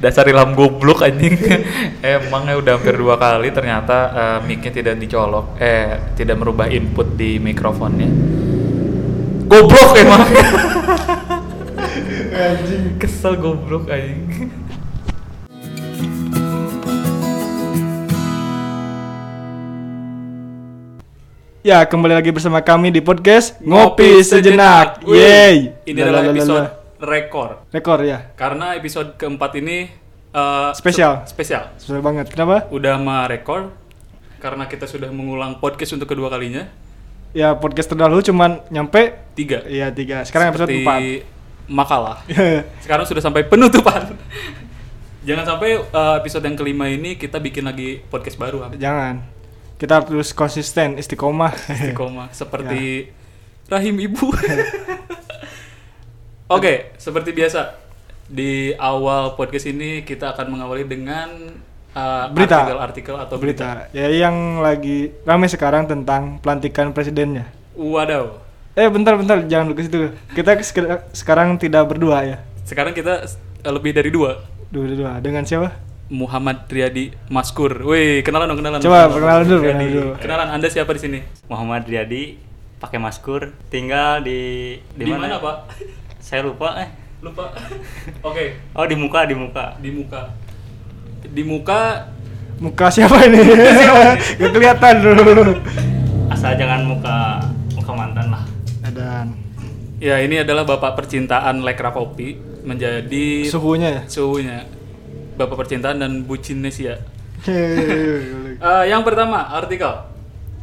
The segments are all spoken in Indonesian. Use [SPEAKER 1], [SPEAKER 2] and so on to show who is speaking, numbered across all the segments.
[SPEAKER 1] dasar ilham goblok anjing emangnya udah hampir dua kali ternyata eh, mic-nya tidak dicolok eh tidak merubah input di mikrofonnya goblok emang
[SPEAKER 2] Anjing.
[SPEAKER 1] kesel goblok anjing
[SPEAKER 2] Ya, kembali lagi bersama kami di podcast
[SPEAKER 1] Ngopi
[SPEAKER 2] Ngopi Sejenak. Yeay.
[SPEAKER 3] Ini adalah
[SPEAKER 2] Lalalala.
[SPEAKER 3] episode rekor
[SPEAKER 2] rekor ya.
[SPEAKER 3] karena episode keempat ini eh,
[SPEAKER 2] Spesial.
[SPEAKER 3] se- Spesial.
[SPEAKER 2] Sesuai banget. Kenapa?
[SPEAKER 3] Udah merekor karena kita sudah mengulang podcast untuk kedua kalinya.
[SPEAKER 2] Ya, podcast terdahulu cuman nyampe
[SPEAKER 3] Tiga.
[SPEAKER 2] Iya, tiga. Sekarang episode
[SPEAKER 3] Seperti
[SPEAKER 2] empat.
[SPEAKER 3] Makalah. Sekarang sudah sampai penutupan. Jangan sampai eh, episode yang kelima ini kita bikin lagi podcast baru Ham.
[SPEAKER 2] Jangan. Kita harus konsisten, istiqomah.
[SPEAKER 3] Istiqomah. seperti
[SPEAKER 2] Ya.
[SPEAKER 3] rahim ibu. Oke, seperti biasa di awal podcast ini kita akan mengawali dengan eh,
[SPEAKER 2] Berita.
[SPEAKER 3] artikel-artikel atau berita.
[SPEAKER 2] Berita. Ya, yang lagi rame sekarang tentang pelantikan presidennya.
[SPEAKER 3] Waduh.
[SPEAKER 2] Eh, bentar, bentar. Jangan dulu ke situ. Kita sek- sekarang tidak berdua ya.
[SPEAKER 3] Sekarang kita s- lebih dari dua.
[SPEAKER 2] Dua, dua, dua. Dengan siapa?
[SPEAKER 3] Muhammad Riyadi Maskur. Wih, kenalan dong, kenalan.
[SPEAKER 2] Coba, perkenalan dulu,
[SPEAKER 3] Riyadi.
[SPEAKER 2] perkenalan dulu.
[SPEAKER 3] Kenalan, Anda siapa di sini?
[SPEAKER 4] Muhammad Riyadi pakai maskur tinggal di
[SPEAKER 3] Di mana,
[SPEAKER 4] ya?
[SPEAKER 3] Pak?
[SPEAKER 4] Saya lupa eh.
[SPEAKER 3] Lupa. Oke,
[SPEAKER 4] Oh di muka di muka.
[SPEAKER 3] di muka. Di muka
[SPEAKER 2] Muka siapa ini? Gak kelihatan dulu.
[SPEAKER 4] Asal jangan muka muka mantan lah.
[SPEAKER 2] Dan
[SPEAKER 3] ya ini adalah Bapak percintaan Lekra Kopi menjadi
[SPEAKER 2] suhunya ya.
[SPEAKER 3] suhunya Bapak percintaan dan bucinnya sih ya.
[SPEAKER 2] Hehehe.
[SPEAKER 3] Eh, yang pertama, artikel.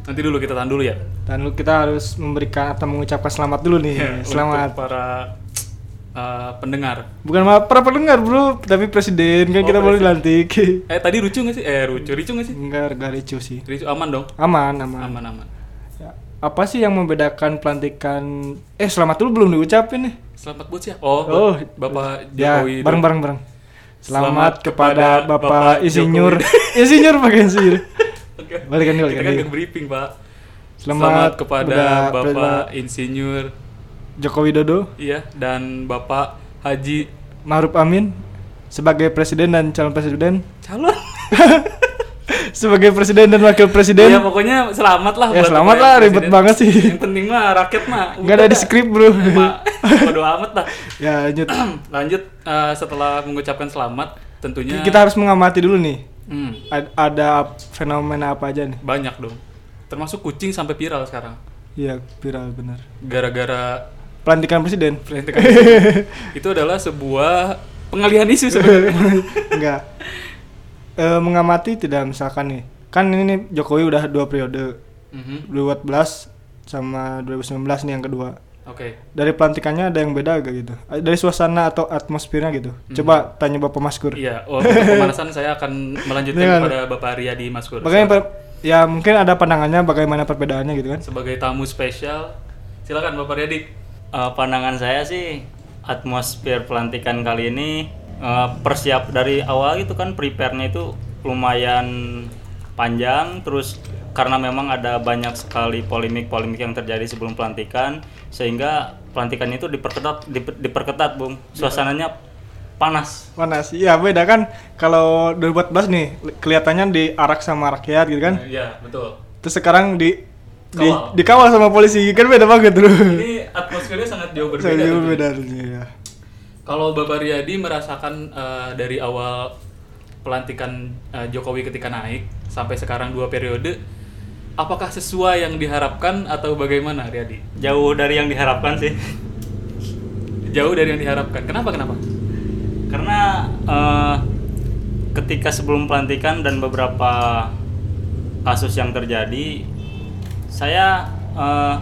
[SPEAKER 3] Nanti dulu kita tahan dulu ya.
[SPEAKER 2] Dan lu- kita harus memberikan atau mengucapkan selamat dulu nih.
[SPEAKER 3] Iya, Untuk
[SPEAKER 2] Iya, selamat.
[SPEAKER 3] para eh, pendengar.
[SPEAKER 2] Bukan malah para pendengar bro, tapi presiden kan
[SPEAKER 3] Oh,
[SPEAKER 2] kita baru
[SPEAKER 3] presiden.
[SPEAKER 2] dilantik.
[SPEAKER 3] Eh tadi lucu nggak sih? Eh lucu, lucu nggak sih?
[SPEAKER 2] Enggak, enggak ricu sih.
[SPEAKER 3] Ricu aman dong.
[SPEAKER 2] Aman, aman.
[SPEAKER 3] Aman aman.
[SPEAKER 2] Ya. Apa sih yang membedakan pelantikan? Eh selamat dulu belum diucapin nih.
[SPEAKER 3] Selamat buat siapa? Oh,
[SPEAKER 2] Oh,
[SPEAKER 3] Bapak
[SPEAKER 2] Ya,
[SPEAKER 3] Jokowi.
[SPEAKER 2] bareng bareng bareng. Selamat,
[SPEAKER 3] Selamat
[SPEAKER 2] kepada,
[SPEAKER 3] kepada
[SPEAKER 2] Bapak,
[SPEAKER 3] Bapak
[SPEAKER 2] Insinyur.
[SPEAKER 3] Jokowi.
[SPEAKER 2] Insinyur pakai Insinyur.
[SPEAKER 3] Oke.
[SPEAKER 2] Balikan
[SPEAKER 3] Kita kan
[SPEAKER 2] dulu, balikan dulu.
[SPEAKER 3] nggak briefing Pak. Selamat,
[SPEAKER 2] Selamat
[SPEAKER 3] kepada
[SPEAKER 2] kepada
[SPEAKER 3] Bapak
[SPEAKER 2] Presiden-
[SPEAKER 3] Insinyur,
[SPEAKER 2] Joko Widodo.
[SPEAKER 3] iya dan Bapak Haji
[SPEAKER 2] Ma'ruf Amin sebagai presiden dan calon presiden,
[SPEAKER 3] calon.
[SPEAKER 2] sebagai presiden dan wakil presiden.
[SPEAKER 3] ya pokoknya selamat lah.
[SPEAKER 2] Ya,
[SPEAKER 3] buat
[SPEAKER 2] selamat
[SPEAKER 3] Bapak
[SPEAKER 2] lah,
[SPEAKER 3] Presiden.
[SPEAKER 2] ribet banget sih.
[SPEAKER 3] Yang penting mah rakyat mah.
[SPEAKER 2] Nggak ada di skrip, bro.
[SPEAKER 3] Pak, bodo amat lah.
[SPEAKER 2] ya, lanjut.
[SPEAKER 3] Lanjut eh, setelah mengucapkan selamat, tentunya
[SPEAKER 2] Kita harus mengamati dulu nih.
[SPEAKER 3] Hmm,
[SPEAKER 2] A- ada fenomena apa aja nih?
[SPEAKER 3] banyak dong. Termasuk kucing sampai viral sekarang.
[SPEAKER 2] Iya, viral benar.
[SPEAKER 3] Gara-gara
[SPEAKER 2] Pelantikan presiden.
[SPEAKER 3] Pelantikan itu adalah sebuah pengalihan isu sebenarnya.
[SPEAKER 2] Enggak. Eh, mengamati tidak misalkan nih. Kan ini nih Jokowi udah dua periode.
[SPEAKER 3] Mhm,
[SPEAKER 2] 2014 sama 2019 nih yang kedua.
[SPEAKER 3] Oke.
[SPEAKER 2] Dari pelantikannya ada yang beda agak gitu. Dari suasana atau atmosfernya gitu.
[SPEAKER 3] Hmm.
[SPEAKER 2] Coba tanya Bapak Maskur.
[SPEAKER 3] Iya, oh, untuk pemanasan saya akan melanjutkan
[SPEAKER 2] Jangan.
[SPEAKER 3] kepada Bapak Riyadi Maskur.
[SPEAKER 2] Bagaimana per- ya mungkin ada pandangannya bagaimana perbedaannya gitu kan?
[SPEAKER 3] Sebagai tamu spesial, silakan Bapak Riyadi.
[SPEAKER 4] Eh, pandangan saya sih atmosfer pelantikan kali ini eh, persiap dari awal itu kan prepare-nya itu lumayan panjang terus karena memang ada banyak sekali polemik-polemik yang terjadi sebelum pelantikan sehingga pelantikan itu diperketat diper- diperketat Bung suasananya panas
[SPEAKER 2] Panas. Iya beda kan kalau 2014 nih li- kelihatannya diarak sama rakyat gitu kan.
[SPEAKER 3] Iya, betul.
[SPEAKER 2] Terus sekarang di di
[SPEAKER 3] Kawal.
[SPEAKER 2] dikawal sama polisi kan beda banget dulu.
[SPEAKER 3] Ini atmosfernya sangat jauh berbeda.
[SPEAKER 2] Saya juga
[SPEAKER 3] tentunya.
[SPEAKER 2] beda dulunya, ya.
[SPEAKER 3] Kalau Bapak Riyadi merasakan eh, dari awal pelantikan eh, Jokowi ketika naik sampai sekarang dua periode, apakah sesuai yang diharapkan atau bagaimana Riyadi?
[SPEAKER 4] jauh dari yang diharapkan sih
[SPEAKER 3] Jauh dari yang diharapkan. Kenapa kenapa?
[SPEAKER 4] karena eh, ketika sebelum pelantikan dan beberapa kasus yang terjadi saya eh,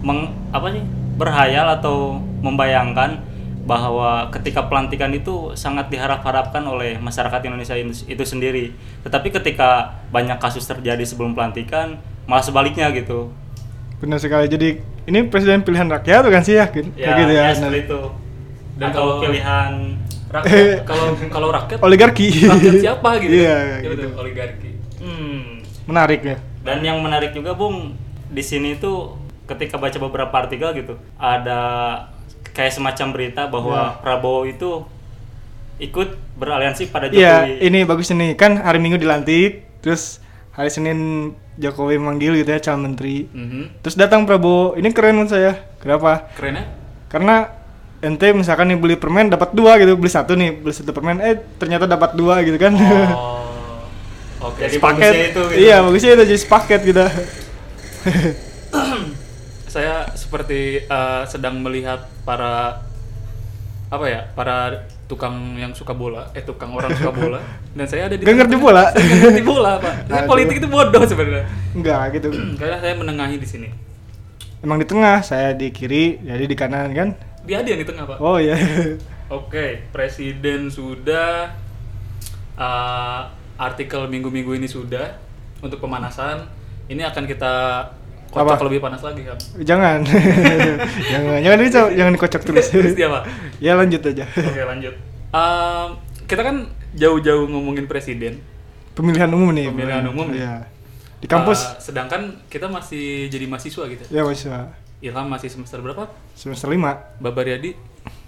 [SPEAKER 4] meng, apa sih berhayal atau membayangkan bahwa ketika pelantikan itu sangat diharap-harapkan oleh masyarakat Indonesia itu itu sendiri tetapi ketika banyak kasus terjadi sebelum pelantikan malah sebaliknya gitu
[SPEAKER 2] Benar sekali. Jadi ini presiden pilihan rakyat bukan sih ya? Kayak
[SPEAKER 4] ya,
[SPEAKER 2] gitu ya.
[SPEAKER 4] ya,
[SPEAKER 2] benar.
[SPEAKER 4] seperti itu
[SPEAKER 3] Dan
[SPEAKER 4] dan kalau
[SPEAKER 3] kalau-
[SPEAKER 4] pilihan
[SPEAKER 3] Rakyat kalau kalau rakyat
[SPEAKER 2] Eh. Oligarki.
[SPEAKER 3] rakyat siapa gitu?
[SPEAKER 2] Iya,
[SPEAKER 3] Gitu,
[SPEAKER 2] gitu.
[SPEAKER 3] oligarki.
[SPEAKER 4] hmm,
[SPEAKER 2] Menarik ya.
[SPEAKER 4] Dan yang menarik juga, Bung, di sini tuh ketika baca beberapa artikel gitu, ada kayak semacam berita bahwa
[SPEAKER 2] Ya.
[SPEAKER 4] Prabowo itu ikut beraliansi pada
[SPEAKER 2] Iya,
[SPEAKER 4] Jokowi.
[SPEAKER 2] ini bagus nih. Kan hari Minggu dilantik, terus hari Senin Jokowi manggil gitu ya calon menteri.
[SPEAKER 3] Mhm.
[SPEAKER 2] Terus datang Prabowo. Ini keren menurut saya. Kenapa?
[SPEAKER 3] Keren ya?
[SPEAKER 2] Karena ente misalkan nih beli permen dapat dua gitu, beli satu nih, beli satu permen, eh ternyata dapat dua gitu kan.
[SPEAKER 3] Oh. Oke.
[SPEAKER 4] Jadi
[SPEAKER 2] Paket.
[SPEAKER 4] bagusnya itu gitu.
[SPEAKER 2] Iya, bagusnya itu jadi paket gitu.
[SPEAKER 3] Saya seperti eh, sedang melihat para apa ya? Para tukang yang suka bola, eh tukang orang suka bola dan saya ada di
[SPEAKER 2] Gak ngerti
[SPEAKER 3] tengah-tengah.
[SPEAKER 2] bola.
[SPEAKER 3] Saya nggak ngerti bola, Pak. Saya
[SPEAKER 2] Aduh.
[SPEAKER 3] politik itu bodoh sebenarnya.
[SPEAKER 2] Enggak gitu.
[SPEAKER 3] Karena saya menengahi di sini.
[SPEAKER 2] Emang di tengah, saya di kiri, jadi di kanan kan.
[SPEAKER 3] Dia ada yang di tengah, Pak.
[SPEAKER 2] Oh iya.
[SPEAKER 3] Oke, presiden sudah, eh, artikel minggu-minggu ini sudah untuk pemanasan. Ini akan kita kocok
[SPEAKER 2] Apa?
[SPEAKER 3] lebih panas lagi, Kang.
[SPEAKER 2] jangan. jangan. Jangan dico, jangan dikocok terus.
[SPEAKER 3] Terus dia apa?
[SPEAKER 2] ya lanjut aja.
[SPEAKER 3] Oke, lanjut. Em, kita kan jauh-jauh ngomongin presiden.
[SPEAKER 2] Pemilihan umum nih.
[SPEAKER 3] Pemilihan umum.
[SPEAKER 2] Iya. Di kampus.
[SPEAKER 3] Eh, sedangkan kita masih jadi mahasiswa gitu.
[SPEAKER 2] ya mahasiswa
[SPEAKER 3] Ilham masih semester berapa?
[SPEAKER 2] semester lima.
[SPEAKER 3] Babar Yadi?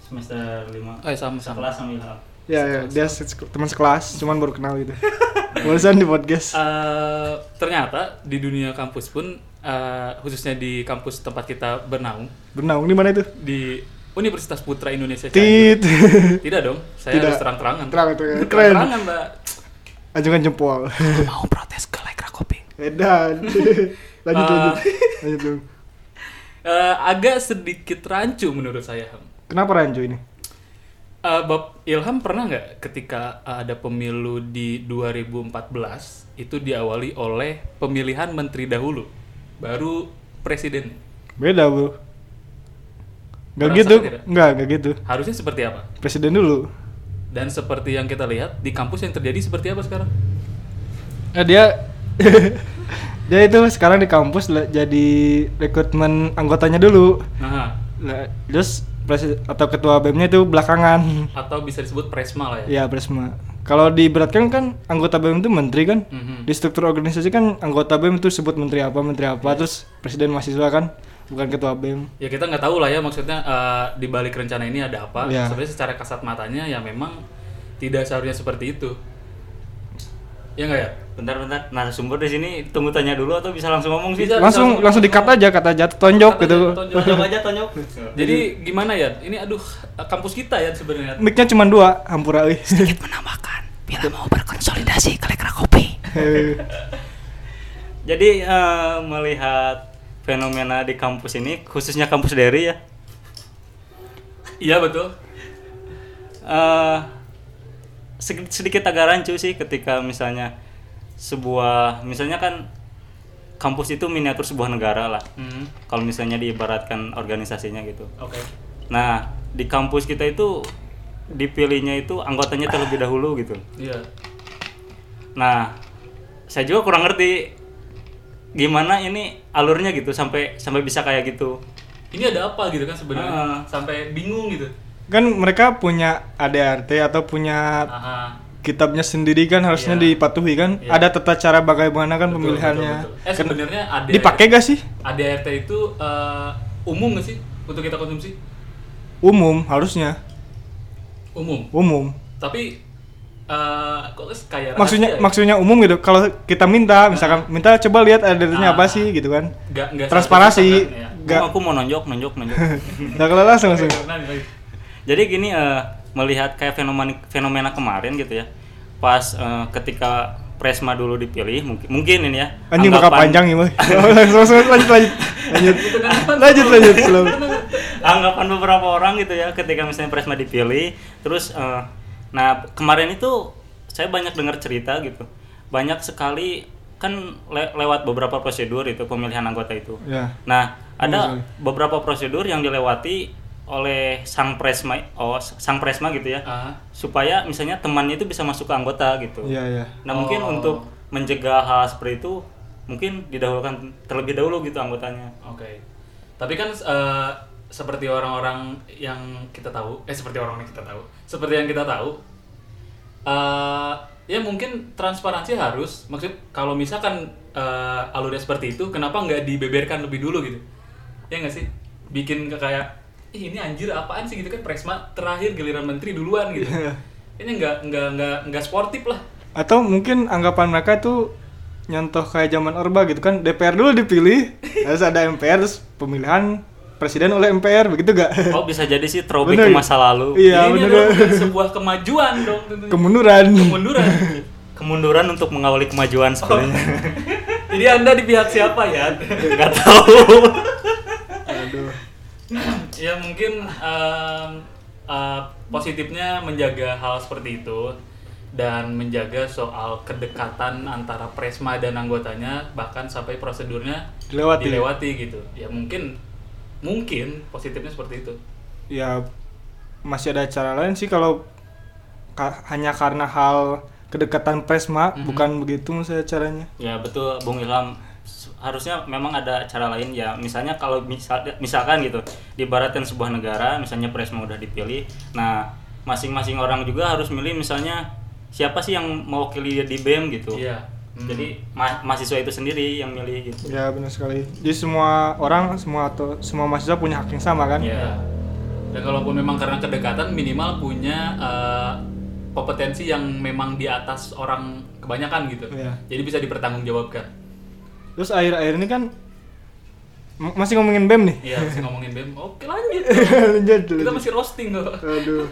[SPEAKER 4] semester 5.
[SPEAKER 3] Eh, sama sama.
[SPEAKER 4] Sekelas sama iya. Ilham.
[SPEAKER 2] Ya, ya, dia se- teman sekelas, cuman baru kenal gitu. Barusan di podcast.
[SPEAKER 3] Eh, ternyata di dunia kampus pun eh, khususnya di kampus tempat kita bernaung
[SPEAKER 2] Bernaung di mana itu?
[SPEAKER 3] di Universitas Putra Indonesia Cianjur.
[SPEAKER 2] Tit.
[SPEAKER 3] Tidak dong, saya
[SPEAKER 2] Tidak.
[SPEAKER 3] harus terang-terangan.
[SPEAKER 2] Terang, terang, keren.
[SPEAKER 3] Terang-terangan, Mbak.
[SPEAKER 2] Ajukan jempol.
[SPEAKER 3] Mau protes ke Lekra Kopi.
[SPEAKER 2] Edan. lanjut,
[SPEAKER 3] Ah.
[SPEAKER 2] lanjut. Lanjut dong.
[SPEAKER 3] Eh, agak sedikit rancu menurut saya, Ham.
[SPEAKER 2] Kenapa rancu ini?
[SPEAKER 3] Eh, Bab Ilham pernah nggak ketika ada pemilu di 2014 itu diawali oleh pemilihan menteri dahulu, baru presiden.
[SPEAKER 2] Beda, Bro. Gak
[SPEAKER 3] Merasakan
[SPEAKER 2] gitu.
[SPEAKER 3] tidak?
[SPEAKER 2] Enggak, gak gitu.
[SPEAKER 3] Harusnya seperti apa?
[SPEAKER 2] Presiden dulu.
[SPEAKER 3] Dan seperti yang kita lihat di kampus yang terjadi seperti apa sekarang?
[SPEAKER 2] Eh dia dia itu sekarang di kampus le- jadi rekrutmen anggotanya dulu.
[SPEAKER 3] Nah,
[SPEAKER 2] Lah, terus presi- atau ketua BEM-nya itu belakangan.
[SPEAKER 3] atau bisa disebut presma lah ya.
[SPEAKER 2] Iya, Presma. Kalau diberatkan kan anggota BEM itu menteri kan?
[SPEAKER 3] Mhm.
[SPEAKER 2] Di struktur organisasi kan anggota BEM itu sebut menteri apa, menteri apa, terus presiden mahasiswa kan, bukan ketua BEM.
[SPEAKER 3] Ya kita nggak tahu lah ya maksudnya eh, di balik rencana ini ada apa.
[SPEAKER 2] Ya.
[SPEAKER 3] Sebenarnya secara kasat matanya ya memang tidak seharusnya seperti itu. Ya nggak ya?
[SPEAKER 4] Bentar bentar. Narasumber di sini tunggu tanya dulu atau bisa langsung ngomong sih?
[SPEAKER 3] Bisa.
[SPEAKER 2] Langsung langsung dikat aja kata jatuh tonjok
[SPEAKER 3] Kata
[SPEAKER 2] gitu.
[SPEAKER 3] tonjok.
[SPEAKER 4] Tonjok aja tonjok.
[SPEAKER 3] Jadi gimana ya? Ini aduh kampus kita ya sebenarnya.
[SPEAKER 2] Mic-nya cuma dua, hampura euy.
[SPEAKER 5] menambahkan bila mau berkonsolidasi ke Lekra Kopi.
[SPEAKER 4] Jadi eh, melihat fenomena di kampus ini khususnya kampus Derry ya.
[SPEAKER 3] Iya betul.
[SPEAKER 4] eh sedikit, sedikit agak rancu sih ketika misalnya sebuah misalnya kan kampus itu miniatur sebuah negara lah
[SPEAKER 3] Hmm,
[SPEAKER 4] kalau misalnya diibaratkan organisasinya gitu
[SPEAKER 3] Oke.
[SPEAKER 4] nah di kampus kita itu dipilihnya itu anggotanya terlebih dahulu gitu
[SPEAKER 3] Iya.
[SPEAKER 4] nah saya juga kurang ngerti gimana ini alurnya gitu sampai sampai bisa kayak gitu
[SPEAKER 3] Ini ada apa gitu kan sebenarnya?
[SPEAKER 4] Ah.
[SPEAKER 3] Sampai bingung gitu.
[SPEAKER 2] kan mereka punya ADRT atau punya
[SPEAKER 3] Aha.
[SPEAKER 2] kitabnya sendiri kan harusnya
[SPEAKER 3] Iya.
[SPEAKER 2] dipatuhi kan.
[SPEAKER 3] Iya.
[SPEAKER 2] Ada tata cara bagaimana kan
[SPEAKER 3] Betul,
[SPEAKER 2] pemilihannya.
[SPEAKER 3] betul, betul. Eh
[SPEAKER 2] Ken-
[SPEAKER 3] sebenarnya ada
[SPEAKER 2] Dipakai gak sih?
[SPEAKER 3] ADRT itu eh, umum nggak sih untuk kita konsumsi?
[SPEAKER 2] Umum harusnya.
[SPEAKER 3] Umum.
[SPEAKER 2] Umum.
[SPEAKER 3] Tapi eh kok kayak
[SPEAKER 2] maksudnya
[SPEAKER 3] rahasia ya?
[SPEAKER 2] maksudnya umum gitu kalau kita minta misalkan minta coba lihat adanya
[SPEAKER 3] Ah.
[SPEAKER 2] apa sih gitu kan
[SPEAKER 3] Nggak- nggak
[SPEAKER 2] transparasi
[SPEAKER 3] satu-satu kan, ya.
[SPEAKER 2] nggak
[SPEAKER 4] aku mau nonjok nonjok nonjok
[SPEAKER 2] nggak kalau langsung langsung
[SPEAKER 3] Nah, nah, nah.
[SPEAKER 4] Jadi gini eh, melihat kayak fenomena fenomena kemarin gitu ya. Pas eh, ketika Presma dulu dipilih mungkin mungkin ini ya.
[SPEAKER 2] anjing bakal
[SPEAKER 4] anggapan-
[SPEAKER 2] panjang ya boy langsung langsung lanjut lanjut
[SPEAKER 3] kan
[SPEAKER 2] lanjut lanjut lanjut slow
[SPEAKER 4] Anggapan beberapa orang gitu ya ketika misalnya Presma dipilih terus eh, nah kemarin itu saya banyak dengar cerita gitu. Banyak sekali kan le- lewat beberapa prosedur itu pemilihan anggota itu.
[SPEAKER 2] ya
[SPEAKER 4] Nah,
[SPEAKER 2] Hmm,
[SPEAKER 4] ada
[SPEAKER 2] sorry.
[SPEAKER 4] beberapa prosedur yang dilewati oleh sang presma oh sang presma gitu ya.
[SPEAKER 3] Ah.
[SPEAKER 4] supaya misalnya temannya itu bisa masuk ke anggota gitu.
[SPEAKER 2] ya ya
[SPEAKER 4] Nah mungkin
[SPEAKER 3] Oh.
[SPEAKER 4] untuk mencegah hal seperti itu mungkin didahulukan terlebih dahulu gitu anggotanya.
[SPEAKER 3] Oke. Tapi kan eh, seperti orang-orang yang kita tahu, eh seperti orang yang kita tahu, seperti yang kita tahu, eh ya mungkin transparansi harus. Maksud kalau misalkan eh, alurnya seperti itu, kenapa nggak dibeberkan lebih dulu gitu? Ya nggak sih, bikin ke kayak Ih, ini anjir apaan sih gitu kan Presma terakhir giliran menteri duluan gitu. kayaknya nggak nggak nggak nggak sportif lah
[SPEAKER 2] Atau mungkin anggapan mereka tuh nyontoh kayak zaman Orba gitu kan DPR dulu dipilih, terus ada MPR terus pemilihan presiden oleh MPR begitu gak?
[SPEAKER 4] Oh bisa jadi sih throwback
[SPEAKER 2] Bener.
[SPEAKER 4] ke masa lalu.
[SPEAKER 2] Iya,
[SPEAKER 3] ini
[SPEAKER 2] bener.
[SPEAKER 3] adalah bukan sebuah kemajuan dong tentunya
[SPEAKER 2] Kemunduran.
[SPEAKER 3] Oh. kemunduran
[SPEAKER 4] Kemunduran untuk mengawali
[SPEAKER 2] Oh.
[SPEAKER 4] kemajuan sebenarnya.
[SPEAKER 3] jadi anda di pihak siapa ya
[SPEAKER 4] Nggak tahu.
[SPEAKER 3] ya mungkin em, eh, positifnya menjaga hal seperti itu dan menjaga soal kedekatan antara presma dan anggotanya bahkan sampai prosedurnya
[SPEAKER 2] Dilewati.
[SPEAKER 3] dilewati gitu ya mungkin mungkin positifnya seperti itu
[SPEAKER 2] ya masih ada cara lain sih kalau ka- hanya karena hal kedekatan presma
[SPEAKER 3] Mhm.
[SPEAKER 2] bukan begitu saya caranya
[SPEAKER 4] Ya betul Bung Ilham S- harusnya memang ada cara lain ya misalnya kalau misal, misalkan gitu dibaratkan sebuah negara misalnya Presma udah dipilih nah masing-masing orang juga harus milih misalnya siapa sih yang mewakili dia di BEM gitu
[SPEAKER 3] Iya. Hmm.
[SPEAKER 4] jadi ma- mahasiswa itu sendiri yang milih gitu
[SPEAKER 2] ya benar sekali jadi semua orang semua atau semua mahasiswa punya hak yang sama kan
[SPEAKER 3] ya dan kalaupun memang karena kedekatan minimal punya eh, kompetensi yang memang di atas orang kebanyakan gitu
[SPEAKER 2] Iya.
[SPEAKER 3] jadi bisa dipertanggungjawabkan
[SPEAKER 2] terus akhir-akhir ini kan m- masih ngomongin bem nih
[SPEAKER 3] iya masih ngomongin bem oke lanjut
[SPEAKER 2] lanjut dulu.
[SPEAKER 3] kita masih roasting kok
[SPEAKER 2] aduh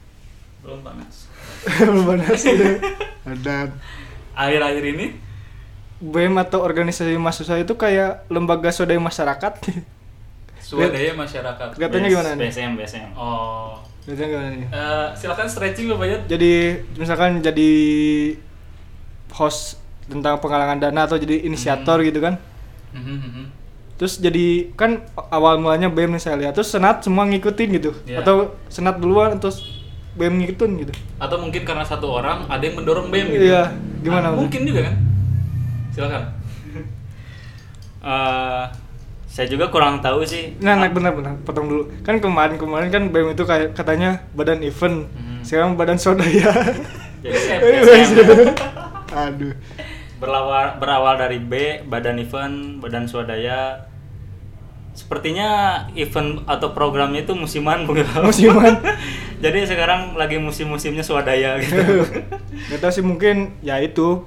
[SPEAKER 3] belum panas
[SPEAKER 2] panas udah. ada
[SPEAKER 3] akhir-akhir ini
[SPEAKER 2] bem E atau organisasi mahasiswa itu kayak lembaga swadaya masyarakat
[SPEAKER 3] swadaya masyarakat
[SPEAKER 2] katanya
[SPEAKER 4] Bes-
[SPEAKER 2] gimana nih
[SPEAKER 4] BSM BSM
[SPEAKER 3] oh
[SPEAKER 2] katanya gimana nih
[SPEAKER 3] Eh, silakan stretching bapak Yat
[SPEAKER 2] jadi misalkan jadi host tentang penggalangan dana atau jadi inisiator
[SPEAKER 3] Hmm.
[SPEAKER 2] gitu kan
[SPEAKER 3] Mhm, mhm.
[SPEAKER 2] terus jadi kan awal mulanya BEM nih saya lihat terus senat semua ngikutin gitu
[SPEAKER 3] Iya.
[SPEAKER 2] atau senat duluan terus BEM ngikutin gitu
[SPEAKER 3] atau mungkin karena satu orang ada yang mendorong bem gitu
[SPEAKER 2] iya gimana
[SPEAKER 3] Ah,
[SPEAKER 2] Bang?
[SPEAKER 3] mungkin juga kan silakan
[SPEAKER 4] Eh, saya juga kurang tahu sih
[SPEAKER 2] nah, nah benar benar potong dulu kan kemarin kemarin kan BEM itu kayak katanya badan event
[SPEAKER 3] Mhm.
[SPEAKER 2] sekarang badan swadaya
[SPEAKER 3] BSM,
[SPEAKER 2] Ini
[SPEAKER 3] BSM.
[SPEAKER 2] iya. aduh
[SPEAKER 4] ya. Berlawar, berawal dari B, badan event, badan swadaya. Sepertinya event atau programnya itu musiman, Bung Ilham.
[SPEAKER 2] musiman
[SPEAKER 4] Jadi sekarang lagi musim-musimnya swadaya gitu.
[SPEAKER 2] Gak tau sih mungkin ya itu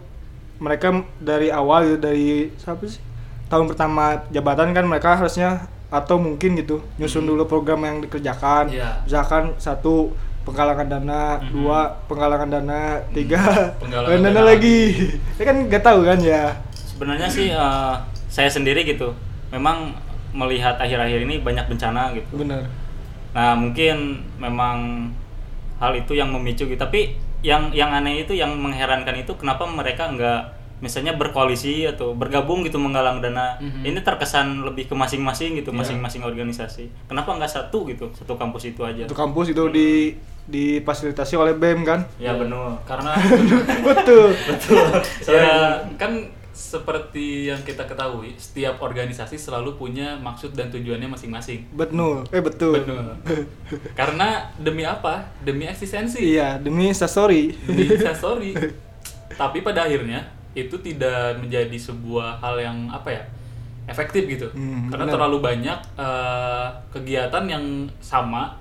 [SPEAKER 2] mereka m- dari awal gitu, dari siapa sih tahun pertama jabatan kan mereka harusnya atau mungkin gitu nyusun dulu program yang dikerjakan
[SPEAKER 3] Hmm. Iya. Hmm.
[SPEAKER 2] misalkan satu penggalangan dana dua penggalangan dana tiga
[SPEAKER 3] Penggalangan
[SPEAKER 2] penggalangan dana
[SPEAKER 3] dana
[SPEAKER 2] lagi ya kan gak tahu kan ya
[SPEAKER 4] Sebenarnya sih eh, saya sendiri gitu. Memang melihat akhir-akhir ini banyak bencana gitu.
[SPEAKER 2] bener
[SPEAKER 4] Nah, mungkin memang hal itu yang memicu gitu. Tapi yang yang aneh itu yang mengherankan itu kenapa mereka nggak misalnya berkoalisi atau bergabung gitu menggalang dana.
[SPEAKER 3] Mhm.
[SPEAKER 4] Ini terkesan lebih ke masing-masing gitu,
[SPEAKER 3] Iya.
[SPEAKER 4] masing-masing organisasi. Kenapa nggak satu gitu, satu kampus itu aja?
[SPEAKER 2] itu kan kampus itu di difasilitasi oleh BEM kan
[SPEAKER 4] Ya benar.
[SPEAKER 3] karena
[SPEAKER 2] betul
[SPEAKER 3] ya, kan seperti yang kita ketahui setiap organisasi selalu punya maksud dan tujuannya masing-masing
[SPEAKER 2] betul eh betul
[SPEAKER 3] Benar. karena demi apa demi eksistensi
[SPEAKER 2] iya demi instastory
[SPEAKER 3] demi instastory tapi pada akhirnya itu tidak menjadi sebuah hal yang apa ya efektif gitu
[SPEAKER 2] Hmm,
[SPEAKER 3] karena
[SPEAKER 2] benar.
[SPEAKER 3] terlalu banyak eh, kegiatan yang sama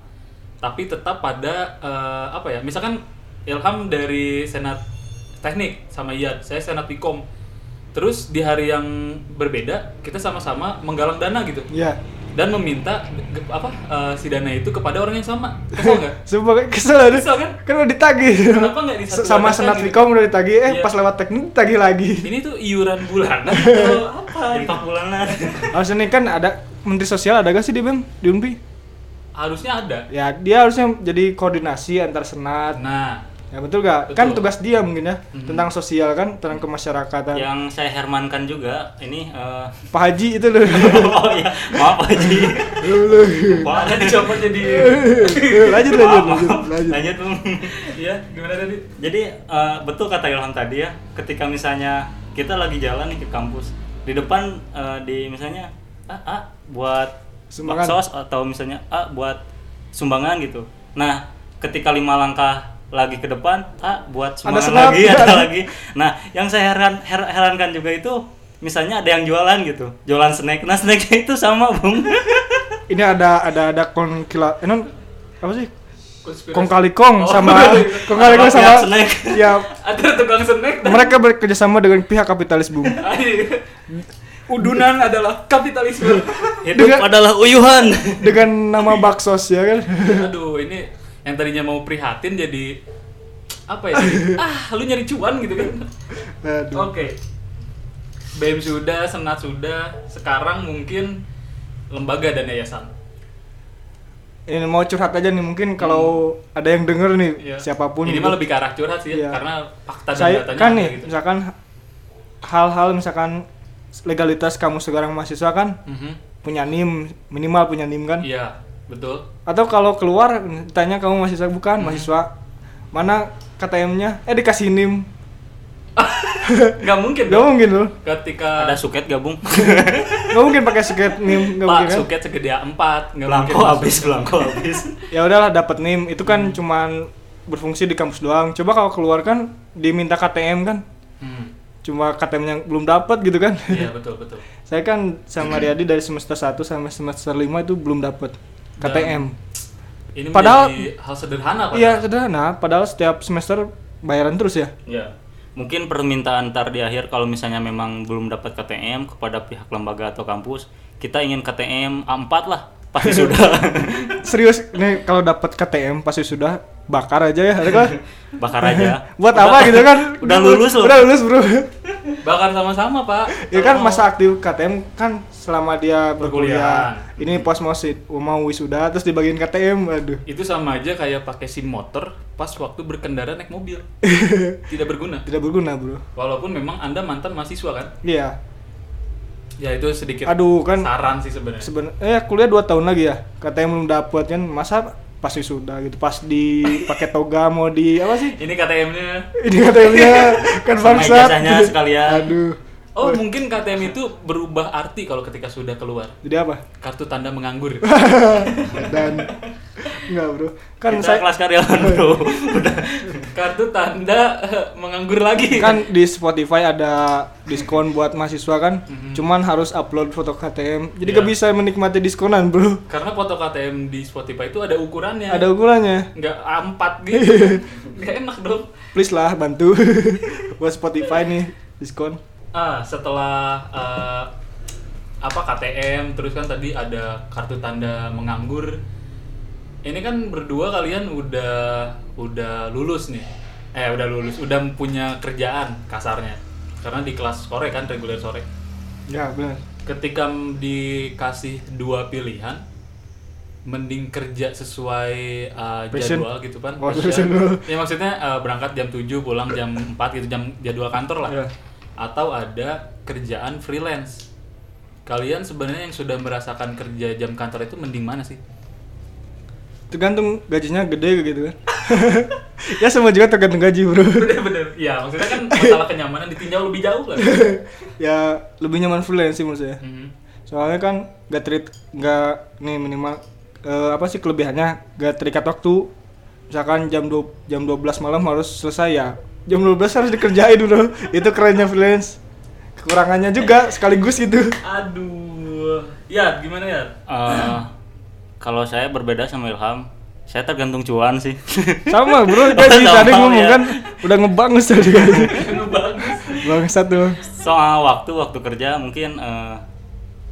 [SPEAKER 3] tapi tetap pada eh, apa ya misalkan Ilham dari senat teknik sama Ian saya senat Pikom terus di hari yang berbeda kita sama-sama menggalang dana gitu
[SPEAKER 2] ya
[SPEAKER 3] dan meminta ge- apa eh, si dana itu kepada orang yang sama kesel nggak
[SPEAKER 2] Sumpah kayak kesel aduh.
[SPEAKER 3] Kesel kan?
[SPEAKER 2] Kan udah ditagih.
[SPEAKER 3] Kenapa nggak di satu wadah
[SPEAKER 2] Sama
[SPEAKER 3] kan
[SPEAKER 2] senat
[SPEAKER 3] gitu?
[SPEAKER 2] Vicom udah ditagih, eh
[SPEAKER 3] Iya.
[SPEAKER 2] pas lewat teknik ditagih lagi.
[SPEAKER 3] ini tuh iuran bulanan atau apa gitu?
[SPEAKER 4] Empat bulanan.
[SPEAKER 2] Harusnya nih kan ada Menteri Sosial ada gak sih di BEM? Di Unpi?
[SPEAKER 3] harusnya ada
[SPEAKER 2] Ya dia harusnya jadi koordinasi antar senat.
[SPEAKER 3] nah
[SPEAKER 2] Ya betul gak?
[SPEAKER 3] Betul.
[SPEAKER 2] Kan
[SPEAKER 3] Ya.
[SPEAKER 2] tugas dia mungkin ya
[SPEAKER 3] Mhm.
[SPEAKER 2] tentang sosial kan, tentang kemasyarakatan.
[SPEAKER 4] yang saya hermankan juga ini eh,
[SPEAKER 2] Pak Haji itu loh.
[SPEAKER 4] oh iya, maaf Haji. Maaf.
[SPEAKER 3] ada dicoba jadi
[SPEAKER 2] lanjut lanjut lanjut lanjut.
[SPEAKER 4] Lanjut, Bung.
[SPEAKER 3] ya gimana tadi
[SPEAKER 4] Jadi eh, betul kata Ilham tadi ya, ketika misalnya kita lagi jalan nih ke kampus, di depan eh, di misalnya ah, ah, buat
[SPEAKER 2] Sumbangan.
[SPEAKER 4] baksos atau misalnya ah, buat sumbangan gitu. Nah, ketika lima langkah lagi ke depan, ah, buat
[SPEAKER 2] Ada
[SPEAKER 4] sumbangan
[SPEAKER 2] senap.
[SPEAKER 4] lagi, ada lagi. Nah, yang saya heran her- herankan juga itu misalnya ada yang jualan gitu, jualan snack. Nah, snacknya itu sama, Bung.
[SPEAKER 2] Ini ada ada ada konkila, eh non apa sih?
[SPEAKER 3] Konspirasi.
[SPEAKER 2] kong kali kong
[SPEAKER 3] Oh.
[SPEAKER 2] sama kong kali kong sama
[SPEAKER 4] Pihak snack.
[SPEAKER 2] ya
[SPEAKER 3] Ada tukang snack dan
[SPEAKER 2] mereka bekerjasama dengan pihak kapitalis bung
[SPEAKER 3] udunan adalah kapitalisme.
[SPEAKER 4] Hidup
[SPEAKER 2] Dengan-
[SPEAKER 4] adalah uyuhan.
[SPEAKER 2] dengan nama baksos ya kan
[SPEAKER 3] Aduh, ini yang tadinya mau prihatin jadi apa ya? Ah, lu nyari cuan gitu kan.
[SPEAKER 2] Aduh.
[SPEAKER 3] Oke. BEM sudah, Senat sudah, sekarang mungkin lembaga dan yayasan.
[SPEAKER 2] ini mau curhat aja nih mungkin kalau ada yang denger nih
[SPEAKER 3] Hmm. Iya.
[SPEAKER 2] siapapun
[SPEAKER 3] Ini
[SPEAKER 2] gitu.
[SPEAKER 3] mah lebih ke arah curhat sih
[SPEAKER 2] Iya.
[SPEAKER 3] ya, karena fakta dan
[SPEAKER 2] saya
[SPEAKER 3] datanya gitu.
[SPEAKER 2] kan
[SPEAKER 3] ada
[SPEAKER 2] nih misalkan hal-hal misalkan legalitas kamu sekarang mahasiswa kan
[SPEAKER 3] Mhm.
[SPEAKER 2] punya nim minimal punya nim kan
[SPEAKER 3] Iya, betul.
[SPEAKER 2] atau kalau keluar tanya kamu mahasiswa
[SPEAKER 3] Hmm.
[SPEAKER 2] bukan mahasiswa mana KTM-nya eh dikasih nim
[SPEAKER 3] Gak mungkin.
[SPEAKER 2] gak
[SPEAKER 3] dong.
[SPEAKER 2] mungkin loh
[SPEAKER 3] Ketika
[SPEAKER 4] Ada suket gabung.
[SPEAKER 2] gak mungkin pakai sket nim gak
[SPEAKER 3] Pak
[SPEAKER 2] mungkin kan
[SPEAKER 3] suket segede A4, nggak mungkin.
[SPEAKER 4] Belangko habis, belangko habis.
[SPEAKER 2] ya udahlah dapat nim itu
[SPEAKER 3] Hmm.
[SPEAKER 2] kan cuman berfungsi di kampus doang coba kalau keluar kan diminta KTM kan
[SPEAKER 3] Hmm,
[SPEAKER 2] cuma KTM yang belum dapat gitu kan
[SPEAKER 3] Iya, betul, betul.
[SPEAKER 2] saya kan sama Riyadi dari semester 1 sampai semester 5 itu belum dapat
[SPEAKER 3] Dan-
[SPEAKER 2] KTM
[SPEAKER 3] Ini
[SPEAKER 2] Padahal-
[SPEAKER 3] menjadi hal sederhana Pak.
[SPEAKER 2] iya sederhana padahal setiap semester bayaran terus ya
[SPEAKER 4] Ya. Mungkin permintaan ntar di akhir kalau misalnya memang belum dapat KTM kepada pihak lembaga atau kampus, kita ingin KTM A4 lah. Pasti sudah.
[SPEAKER 2] serius nih kalau dapat KTM pasti sudah bakar aja ya kan
[SPEAKER 4] Bakar aja.
[SPEAKER 2] buat
[SPEAKER 4] Udah-
[SPEAKER 2] apa gitu kan
[SPEAKER 4] Udah lulus loh.
[SPEAKER 2] udah lulus bro
[SPEAKER 3] Bakar sama-sama, Pak.
[SPEAKER 2] ya kan
[SPEAKER 4] Oh.
[SPEAKER 3] Kalau
[SPEAKER 2] masa aktif KTM kan selama dia berkuliah
[SPEAKER 3] Berkuliah.
[SPEAKER 2] ini pas mau sit mau wisuda terus dibagiin KTM aduh
[SPEAKER 3] itu sama aja kayak pakai sim motor pas waktu berkendara naik mobil tidak berguna
[SPEAKER 2] tidak berguna bro
[SPEAKER 3] walaupun memang anda mantan mahasiswa kan
[SPEAKER 2] iya
[SPEAKER 3] ya itu sedikit
[SPEAKER 2] Aduh, kan-
[SPEAKER 3] saran sih sebenarnya
[SPEAKER 2] sebenarnya eh, kuliah 2 tahun lagi ya KTM belum dapat kan masa pasti sudah gitu pas di pakai toga mau di apa sih
[SPEAKER 3] ini KTM-nya
[SPEAKER 2] ini KTM-nya kan
[SPEAKER 4] Sama
[SPEAKER 2] bangsat
[SPEAKER 4] ijazahnya sekalian.
[SPEAKER 2] aduh
[SPEAKER 3] oh mungkin KTM itu berubah arti kalau ketika sudah keluar
[SPEAKER 2] jadi apa
[SPEAKER 3] kartu tanda menganggur
[SPEAKER 2] dan enggak bro kan
[SPEAKER 4] kita
[SPEAKER 2] saya
[SPEAKER 4] kelas karyawan, Bro. Udah.
[SPEAKER 3] kartu tanda eh, menganggur lagi
[SPEAKER 2] kan di Spotify ada diskon buat mahasiswa kan
[SPEAKER 4] Mhm.
[SPEAKER 2] cuman harus upload foto KTM jadi
[SPEAKER 3] Iya.
[SPEAKER 2] gak bisa menikmati diskonan bro
[SPEAKER 3] karena foto KTM di Spotify itu ada ukurannya
[SPEAKER 4] Iya.
[SPEAKER 2] ada ukurannya
[SPEAKER 3] nggak A4 gitu nggak enak dong
[SPEAKER 2] please lah bantu buat Spotify nih diskon
[SPEAKER 3] Ah, setelah eh, apa KTM terus kan tadi ada kartu tanda menganggur. Ini kan berdua kalian udah udah lulus nih. Eh, udah lulus, udah punya kerjaan kasarnya. Karena di kelas sore kan reguler sore.
[SPEAKER 2] ya benar
[SPEAKER 3] Ketika m- dikasih dua pilihan mending kerja sesuai eh,
[SPEAKER 2] Passion.
[SPEAKER 3] jadwal gitu kan.
[SPEAKER 2] Oh,
[SPEAKER 3] Passion.
[SPEAKER 2] passion dulu.
[SPEAKER 3] Ya maksudnya eh, berangkat jam 7, pulang jam 4 gitu jam jadwal kantor lah
[SPEAKER 2] Iya.
[SPEAKER 3] atau ada kerjaan freelance. Kalian sebenarnya yang sudah merasakan kerja jam kantor itu mending mana sih?
[SPEAKER 2] tergantung gajinya gede gitu kan ya sama juga tergantung gaji bro
[SPEAKER 3] Bener-bener. Ya, maksudnya kan masalah kenyamanan ditinjau lebih jauh lah.
[SPEAKER 2] ya lebih nyaman freelance sih menurut saya
[SPEAKER 3] Mhm.
[SPEAKER 2] soalnya kan gak terit gak nih minimal eh, apa sih kelebihannya gak terikat waktu misalkan jam 2 jam 12 malam harus selesai ya jam 12 harus dikerjain bro itu kerennya freelance kekurangannya juga sekaligus gitu
[SPEAKER 3] Aduh. Ya, gimana ya?
[SPEAKER 4] Eh, kalau saya berbeda sama Ilham, saya tergantung cuan sih.
[SPEAKER 2] sama bro gaji tadi
[SPEAKER 4] Sama,
[SPEAKER 2] ngomong
[SPEAKER 4] ya.
[SPEAKER 2] kan udah ngebangus tadi kan
[SPEAKER 3] Bagus.
[SPEAKER 2] bangsat tuh
[SPEAKER 4] Soal waktu waktu kerja mungkin eh,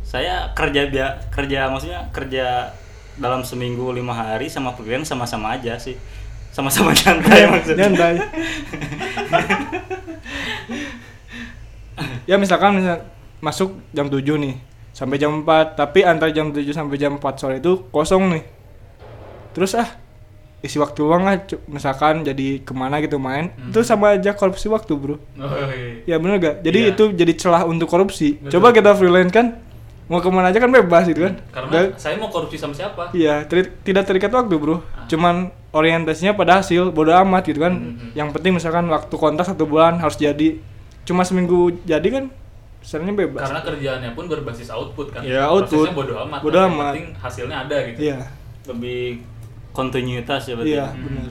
[SPEAKER 4] saya kerja bia- kerja maksudnya kerja dalam seminggu lima hari sama freelance sama-sama aja sih. Sama-sama
[SPEAKER 2] Iya,
[SPEAKER 4] nyantai maksudnya.
[SPEAKER 2] nyantai ya misalkan misal- masuk jam 7 nih sampai jam 4 tapi antara jam 7 sampai jam 4 sore itu kosong nih terus ah isi waktu luang ah cu- misalkan jadi kemana gitu main
[SPEAKER 3] Hmm.
[SPEAKER 2] itu sama aja korupsi waktu bro
[SPEAKER 3] Oh, Oi.
[SPEAKER 2] ya bener gak jadi
[SPEAKER 3] Iya.
[SPEAKER 2] itu jadi celah untuk korupsi
[SPEAKER 3] Betul.
[SPEAKER 2] coba kita freelance kan mau kemana aja kan bebas gitu kan Dan-
[SPEAKER 3] Karena saya mau korupsi sama siapa?
[SPEAKER 2] Iya, teri- tidak terikat waktu, Bro. Cuman orientasinya pada hasil, bodo amat gitu kan. Yang penting misalkan waktu kontrak satu bulan harus jadi. Cuma seminggu jadi kan misalnya bebas.
[SPEAKER 3] Karena kerjaannya pun berbasis output kan.
[SPEAKER 2] Iya, output.
[SPEAKER 3] Prosesnya bodo amat.
[SPEAKER 2] Bodo
[SPEAKER 3] Yang
[SPEAKER 2] amat.
[SPEAKER 3] penting hasilnya ada gitu.
[SPEAKER 2] Iya.
[SPEAKER 4] Lebih kontinuitas ya berarti.
[SPEAKER 2] Iya, benar.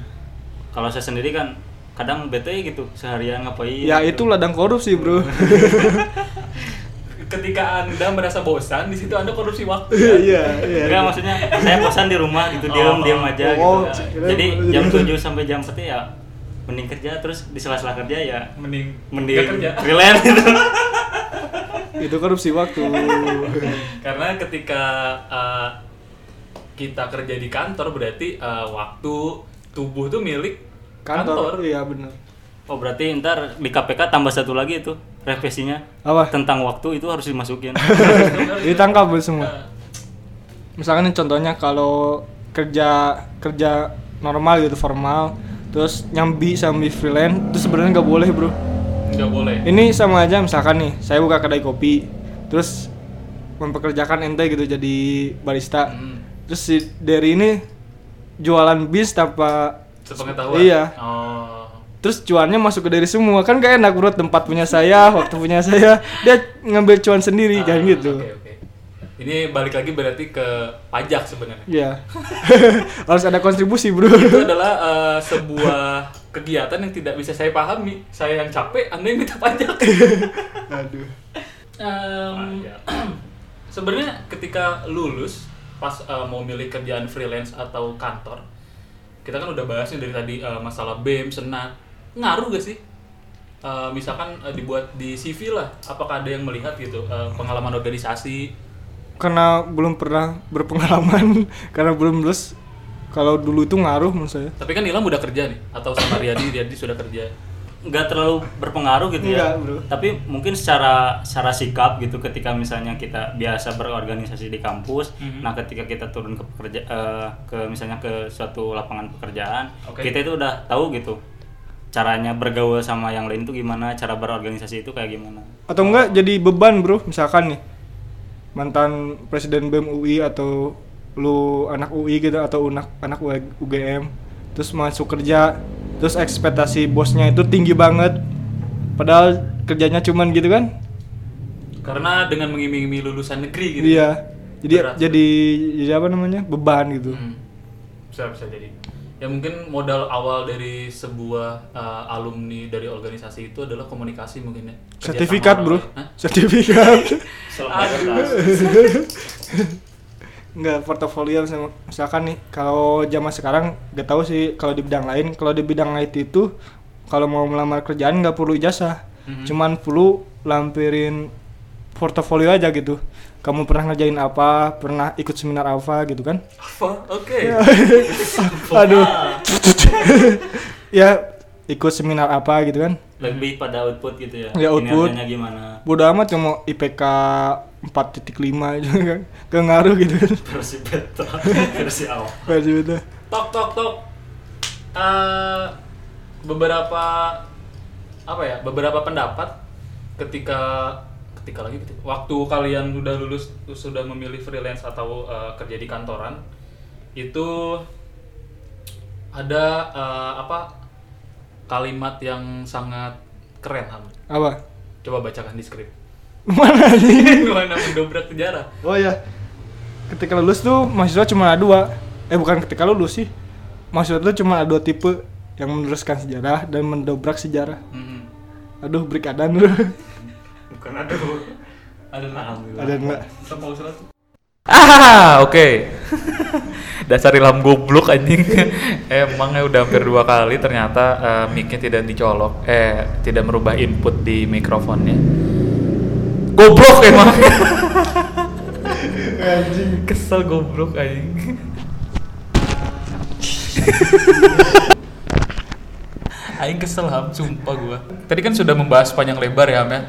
[SPEAKER 4] Kalau saya sendiri kan kadang bete gitu seharian ngapain.
[SPEAKER 2] Ya itu ladang korupsi, Bro.
[SPEAKER 3] ketika anda merasa bosan di situ anda korupsi waktu kan?
[SPEAKER 2] Iya, iya.
[SPEAKER 4] Enggak maksudnya saya kosan di rumah gitu
[SPEAKER 3] Oh.
[SPEAKER 4] diam diam aja
[SPEAKER 2] Oh,
[SPEAKER 4] gitu.
[SPEAKER 2] kira-
[SPEAKER 4] Jadi
[SPEAKER 2] kira-
[SPEAKER 4] jam 7 sampai jam 4 ya mending kerja terus di sela-sela kerja ya
[SPEAKER 3] kan? mending
[SPEAKER 4] mending
[SPEAKER 3] nggak kerja
[SPEAKER 4] freelance gitu.
[SPEAKER 2] Itu korupsi waktu.
[SPEAKER 3] karena ketika uh, kita kerja di kantor berarti uh, waktu tubuh tuh milik
[SPEAKER 2] Kantor. Iya, benar.
[SPEAKER 4] Oh berarti ntar di KPK tambah satu lagi itu revisinya
[SPEAKER 2] Apa?
[SPEAKER 4] tentang waktu itu harus dimasukin.
[SPEAKER 2] Ditangkap bu,
[SPEAKER 3] Nah.
[SPEAKER 2] semua. Misalkan nih contohnya kalau kerja kerja normal gitu formal, terus nyambi sambil freelance, itu sebenarnya nggak boleh bro.
[SPEAKER 3] nggak boleh
[SPEAKER 2] Ini sama aja misalkan nih, saya buka kedai kopi, terus mempekerjakan ente gitu jadi barista.
[SPEAKER 3] Hmm.
[SPEAKER 2] Terus si dari ini jualan bis tanpa
[SPEAKER 3] sepengetahuan
[SPEAKER 2] Iya.
[SPEAKER 3] oh
[SPEAKER 2] terus cuannya masuk ke dari semua kan gak enak bro tempat punya saya waktu punya saya dia ngambil cuan
[SPEAKER 3] Ah,
[SPEAKER 2] sendiri kan gitu
[SPEAKER 3] oke, oke. ini balik lagi berarti ke pajak sebenarnya
[SPEAKER 2] ya harus ada kontribusi bro
[SPEAKER 3] itu adalah uh, sebuah kegiatan yang tidak bisa saya pahami saya yang capek anda yang minta pajak
[SPEAKER 2] aduh
[SPEAKER 3] Em, sebenarnya ketika lulus pas eh, mau milih kerjaan freelance atau kantor kita kan udah bahas nih dari tadi eh, masalah BEM senat ngaruh gak sih Eh, misalkan eh, dibuat di CV lah apakah ada yang melihat gitu eh, pengalaman organisasi
[SPEAKER 2] karena belum pernah berpengalaman karena belum lulus kalau dulu itu ngaruh menurut saya
[SPEAKER 3] tapi kan Ilham udah kerja nih atau sama Riyadi Riyadi sudah kerja
[SPEAKER 4] nggak terlalu berpengaruh gitu ya.
[SPEAKER 2] Nggak, bro.
[SPEAKER 4] Tapi mungkin secara secara sikap gitu ketika misalnya kita biasa berorganisasi di kampus, nah ketika kita turun ke pekerja eh, ke misalnya ke suatu lapangan pekerjaan,
[SPEAKER 3] Oke.
[SPEAKER 4] kita itu udah tahu gitu caranya bergaul sama yang lain itu gimana, cara berorganisasi itu kayak gimana.
[SPEAKER 2] atau enggak jadi beban bro misalkan nih mantan presiden BEM UI atau lu anak UI gitu atau anak anak U- UGM terus masuk kerja terus ekspektasi bosnya itu tinggi banget padahal kerjanya cuman gitu kan
[SPEAKER 3] karena dengan mengiming-imingi lulusan negeri gitu
[SPEAKER 2] iya jadi
[SPEAKER 3] Berat.
[SPEAKER 2] jadi jadi apa namanya beban gitu
[SPEAKER 3] Hmm. Bisa bisa jadi. Ya mungkin modal awal dari sebuah uh, alumni dari organisasi itu adalah komunikasi mungkin ya. Kerja
[SPEAKER 2] sertifikat
[SPEAKER 3] sama
[SPEAKER 2] bro
[SPEAKER 3] orang lain. Hah?
[SPEAKER 2] sertifikat
[SPEAKER 3] Aduh.
[SPEAKER 2] Nggak, portofolio misalkan, misalkan nih kalau zaman sekarang nggak tahu sih kalau di bidang lain kalau di bidang IT itu kalau mau melamar kerjaan nggak perlu ijazah
[SPEAKER 3] Mm-hmm.
[SPEAKER 2] cuman perlu lampirin portofolio aja gitu kamu pernah ngerjain apa pernah ikut seminar apa gitu kan
[SPEAKER 3] Apa? Oke.
[SPEAKER 2] Iya. aduh ya ikut seminar apa gitu kan
[SPEAKER 4] Lebih pada output gitu ya.
[SPEAKER 2] Ya, output.
[SPEAKER 4] Kinerjanya gimana.
[SPEAKER 2] bodoh amat cuma IPK 4.5 aja kan gak ngaruh gitu kan
[SPEAKER 4] versi beta versi awal
[SPEAKER 2] Waduh, udah.
[SPEAKER 3] Tok tok tok. Eh, beberapa apa ya? Beberapa pendapat ketika ketika lagi ketika- waktu kalian sudah lulus sudah memilih freelance atau eh, kerja di kantoran itu ada eh, apa kalimat yang sangat keren Ham.
[SPEAKER 2] apa
[SPEAKER 3] Coba bacakan di skrip.
[SPEAKER 2] mana nih
[SPEAKER 3] Gimana mendobrak sejarah?
[SPEAKER 2] Oh ya, ketika lulus tuh mahasiswa cuma ada dua. Eh bukan ketika lulus sih, mahasiswa tuh cuma ada dua tipe yang meneruskan sejarah dan mendobrak sejarah.
[SPEAKER 3] Mm-mm.
[SPEAKER 2] Aduh, break ada dulu.
[SPEAKER 4] bukan aduh
[SPEAKER 3] Ada
[SPEAKER 2] ada enggak?
[SPEAKER 3] Sama usulan tuh.
[SPEAKER 1] Ah, oke. Dasar ilham goblok anjing.
[SPEAKER 3] ya,
[SPEAKER 1] Emangnya udah hampir dua kali ternyata eh, mic-nya tidak dicolok, eh tidak merubah input di mikrofonnya. Goblok emang. anjing, kesel goblok anjing.
[SPEAKER 3] Aing kesel ham, sumpah gua. Tadi kan sudah membahas panjang lebar ya ham ya.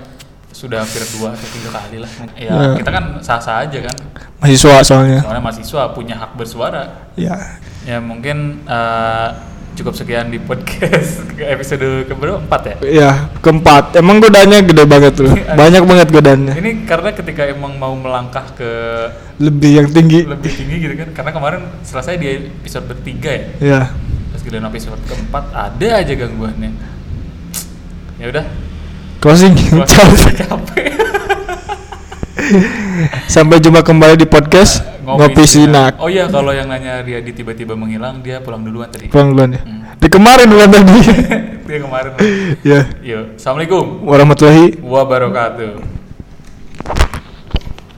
[SPEAKER 3] Sudah hampir dua atau tiga kali lah. Ya,
[SPEAKER 2] Ya.
[SPEAKER 3] kita kan sah-sah aja kan.
[SPEAKER 2] Mahasiswa soalnya.
[SPEAKER 3] Soalnya mahasiswa punya hak bersuara.
[SPEAKER 2] Ya.
[SPEAKER 3] Ya mungkin eh, cukup sekian di podcast ke episode keberapa? Empat ya?
[SPEAKER 2] Ya, keempat. Emang godaannya gede banget tuh. Banyak banget godaannya.
[SPEAKER 3] Ini karena ketika emang mau melangkah ke
[SPEAKER 2] Lebih yang tinggi.
[SPEAKER 3] lebih tinggi gitu kan. Karena kemarin selesai di episode bertiga ya.
[SPEAKER 2] Ya.
[SPEAKER 3] Terus giliran episode keempat ada aja gangguannya. Ya udah,
[SPEAKER 2] Closing.
[SPEAKER 3] gua capek.
[SPEAKER 2] Sampai jumpa kembali di podcast Ngopi Sinak.
[SPEAKER 3] Oh iya, kalau yang nanya dia di tiba-tiba menghilang, dia pulang duluan tadi.
[SPEAKER 2] Pulang duluan ya.
[SPEAKER 3] Hmm.
[SPEAKER 2] Di kemarin bulan tadi.
[SPEAKER 3] dia kemarin.
[SPEAKER 2] ya.
[SPEAKER 3] Yuk, assalamualaikum
[SPEAKER 2] Warahmatullahi
[SPEAKER 3] wabarakatuh.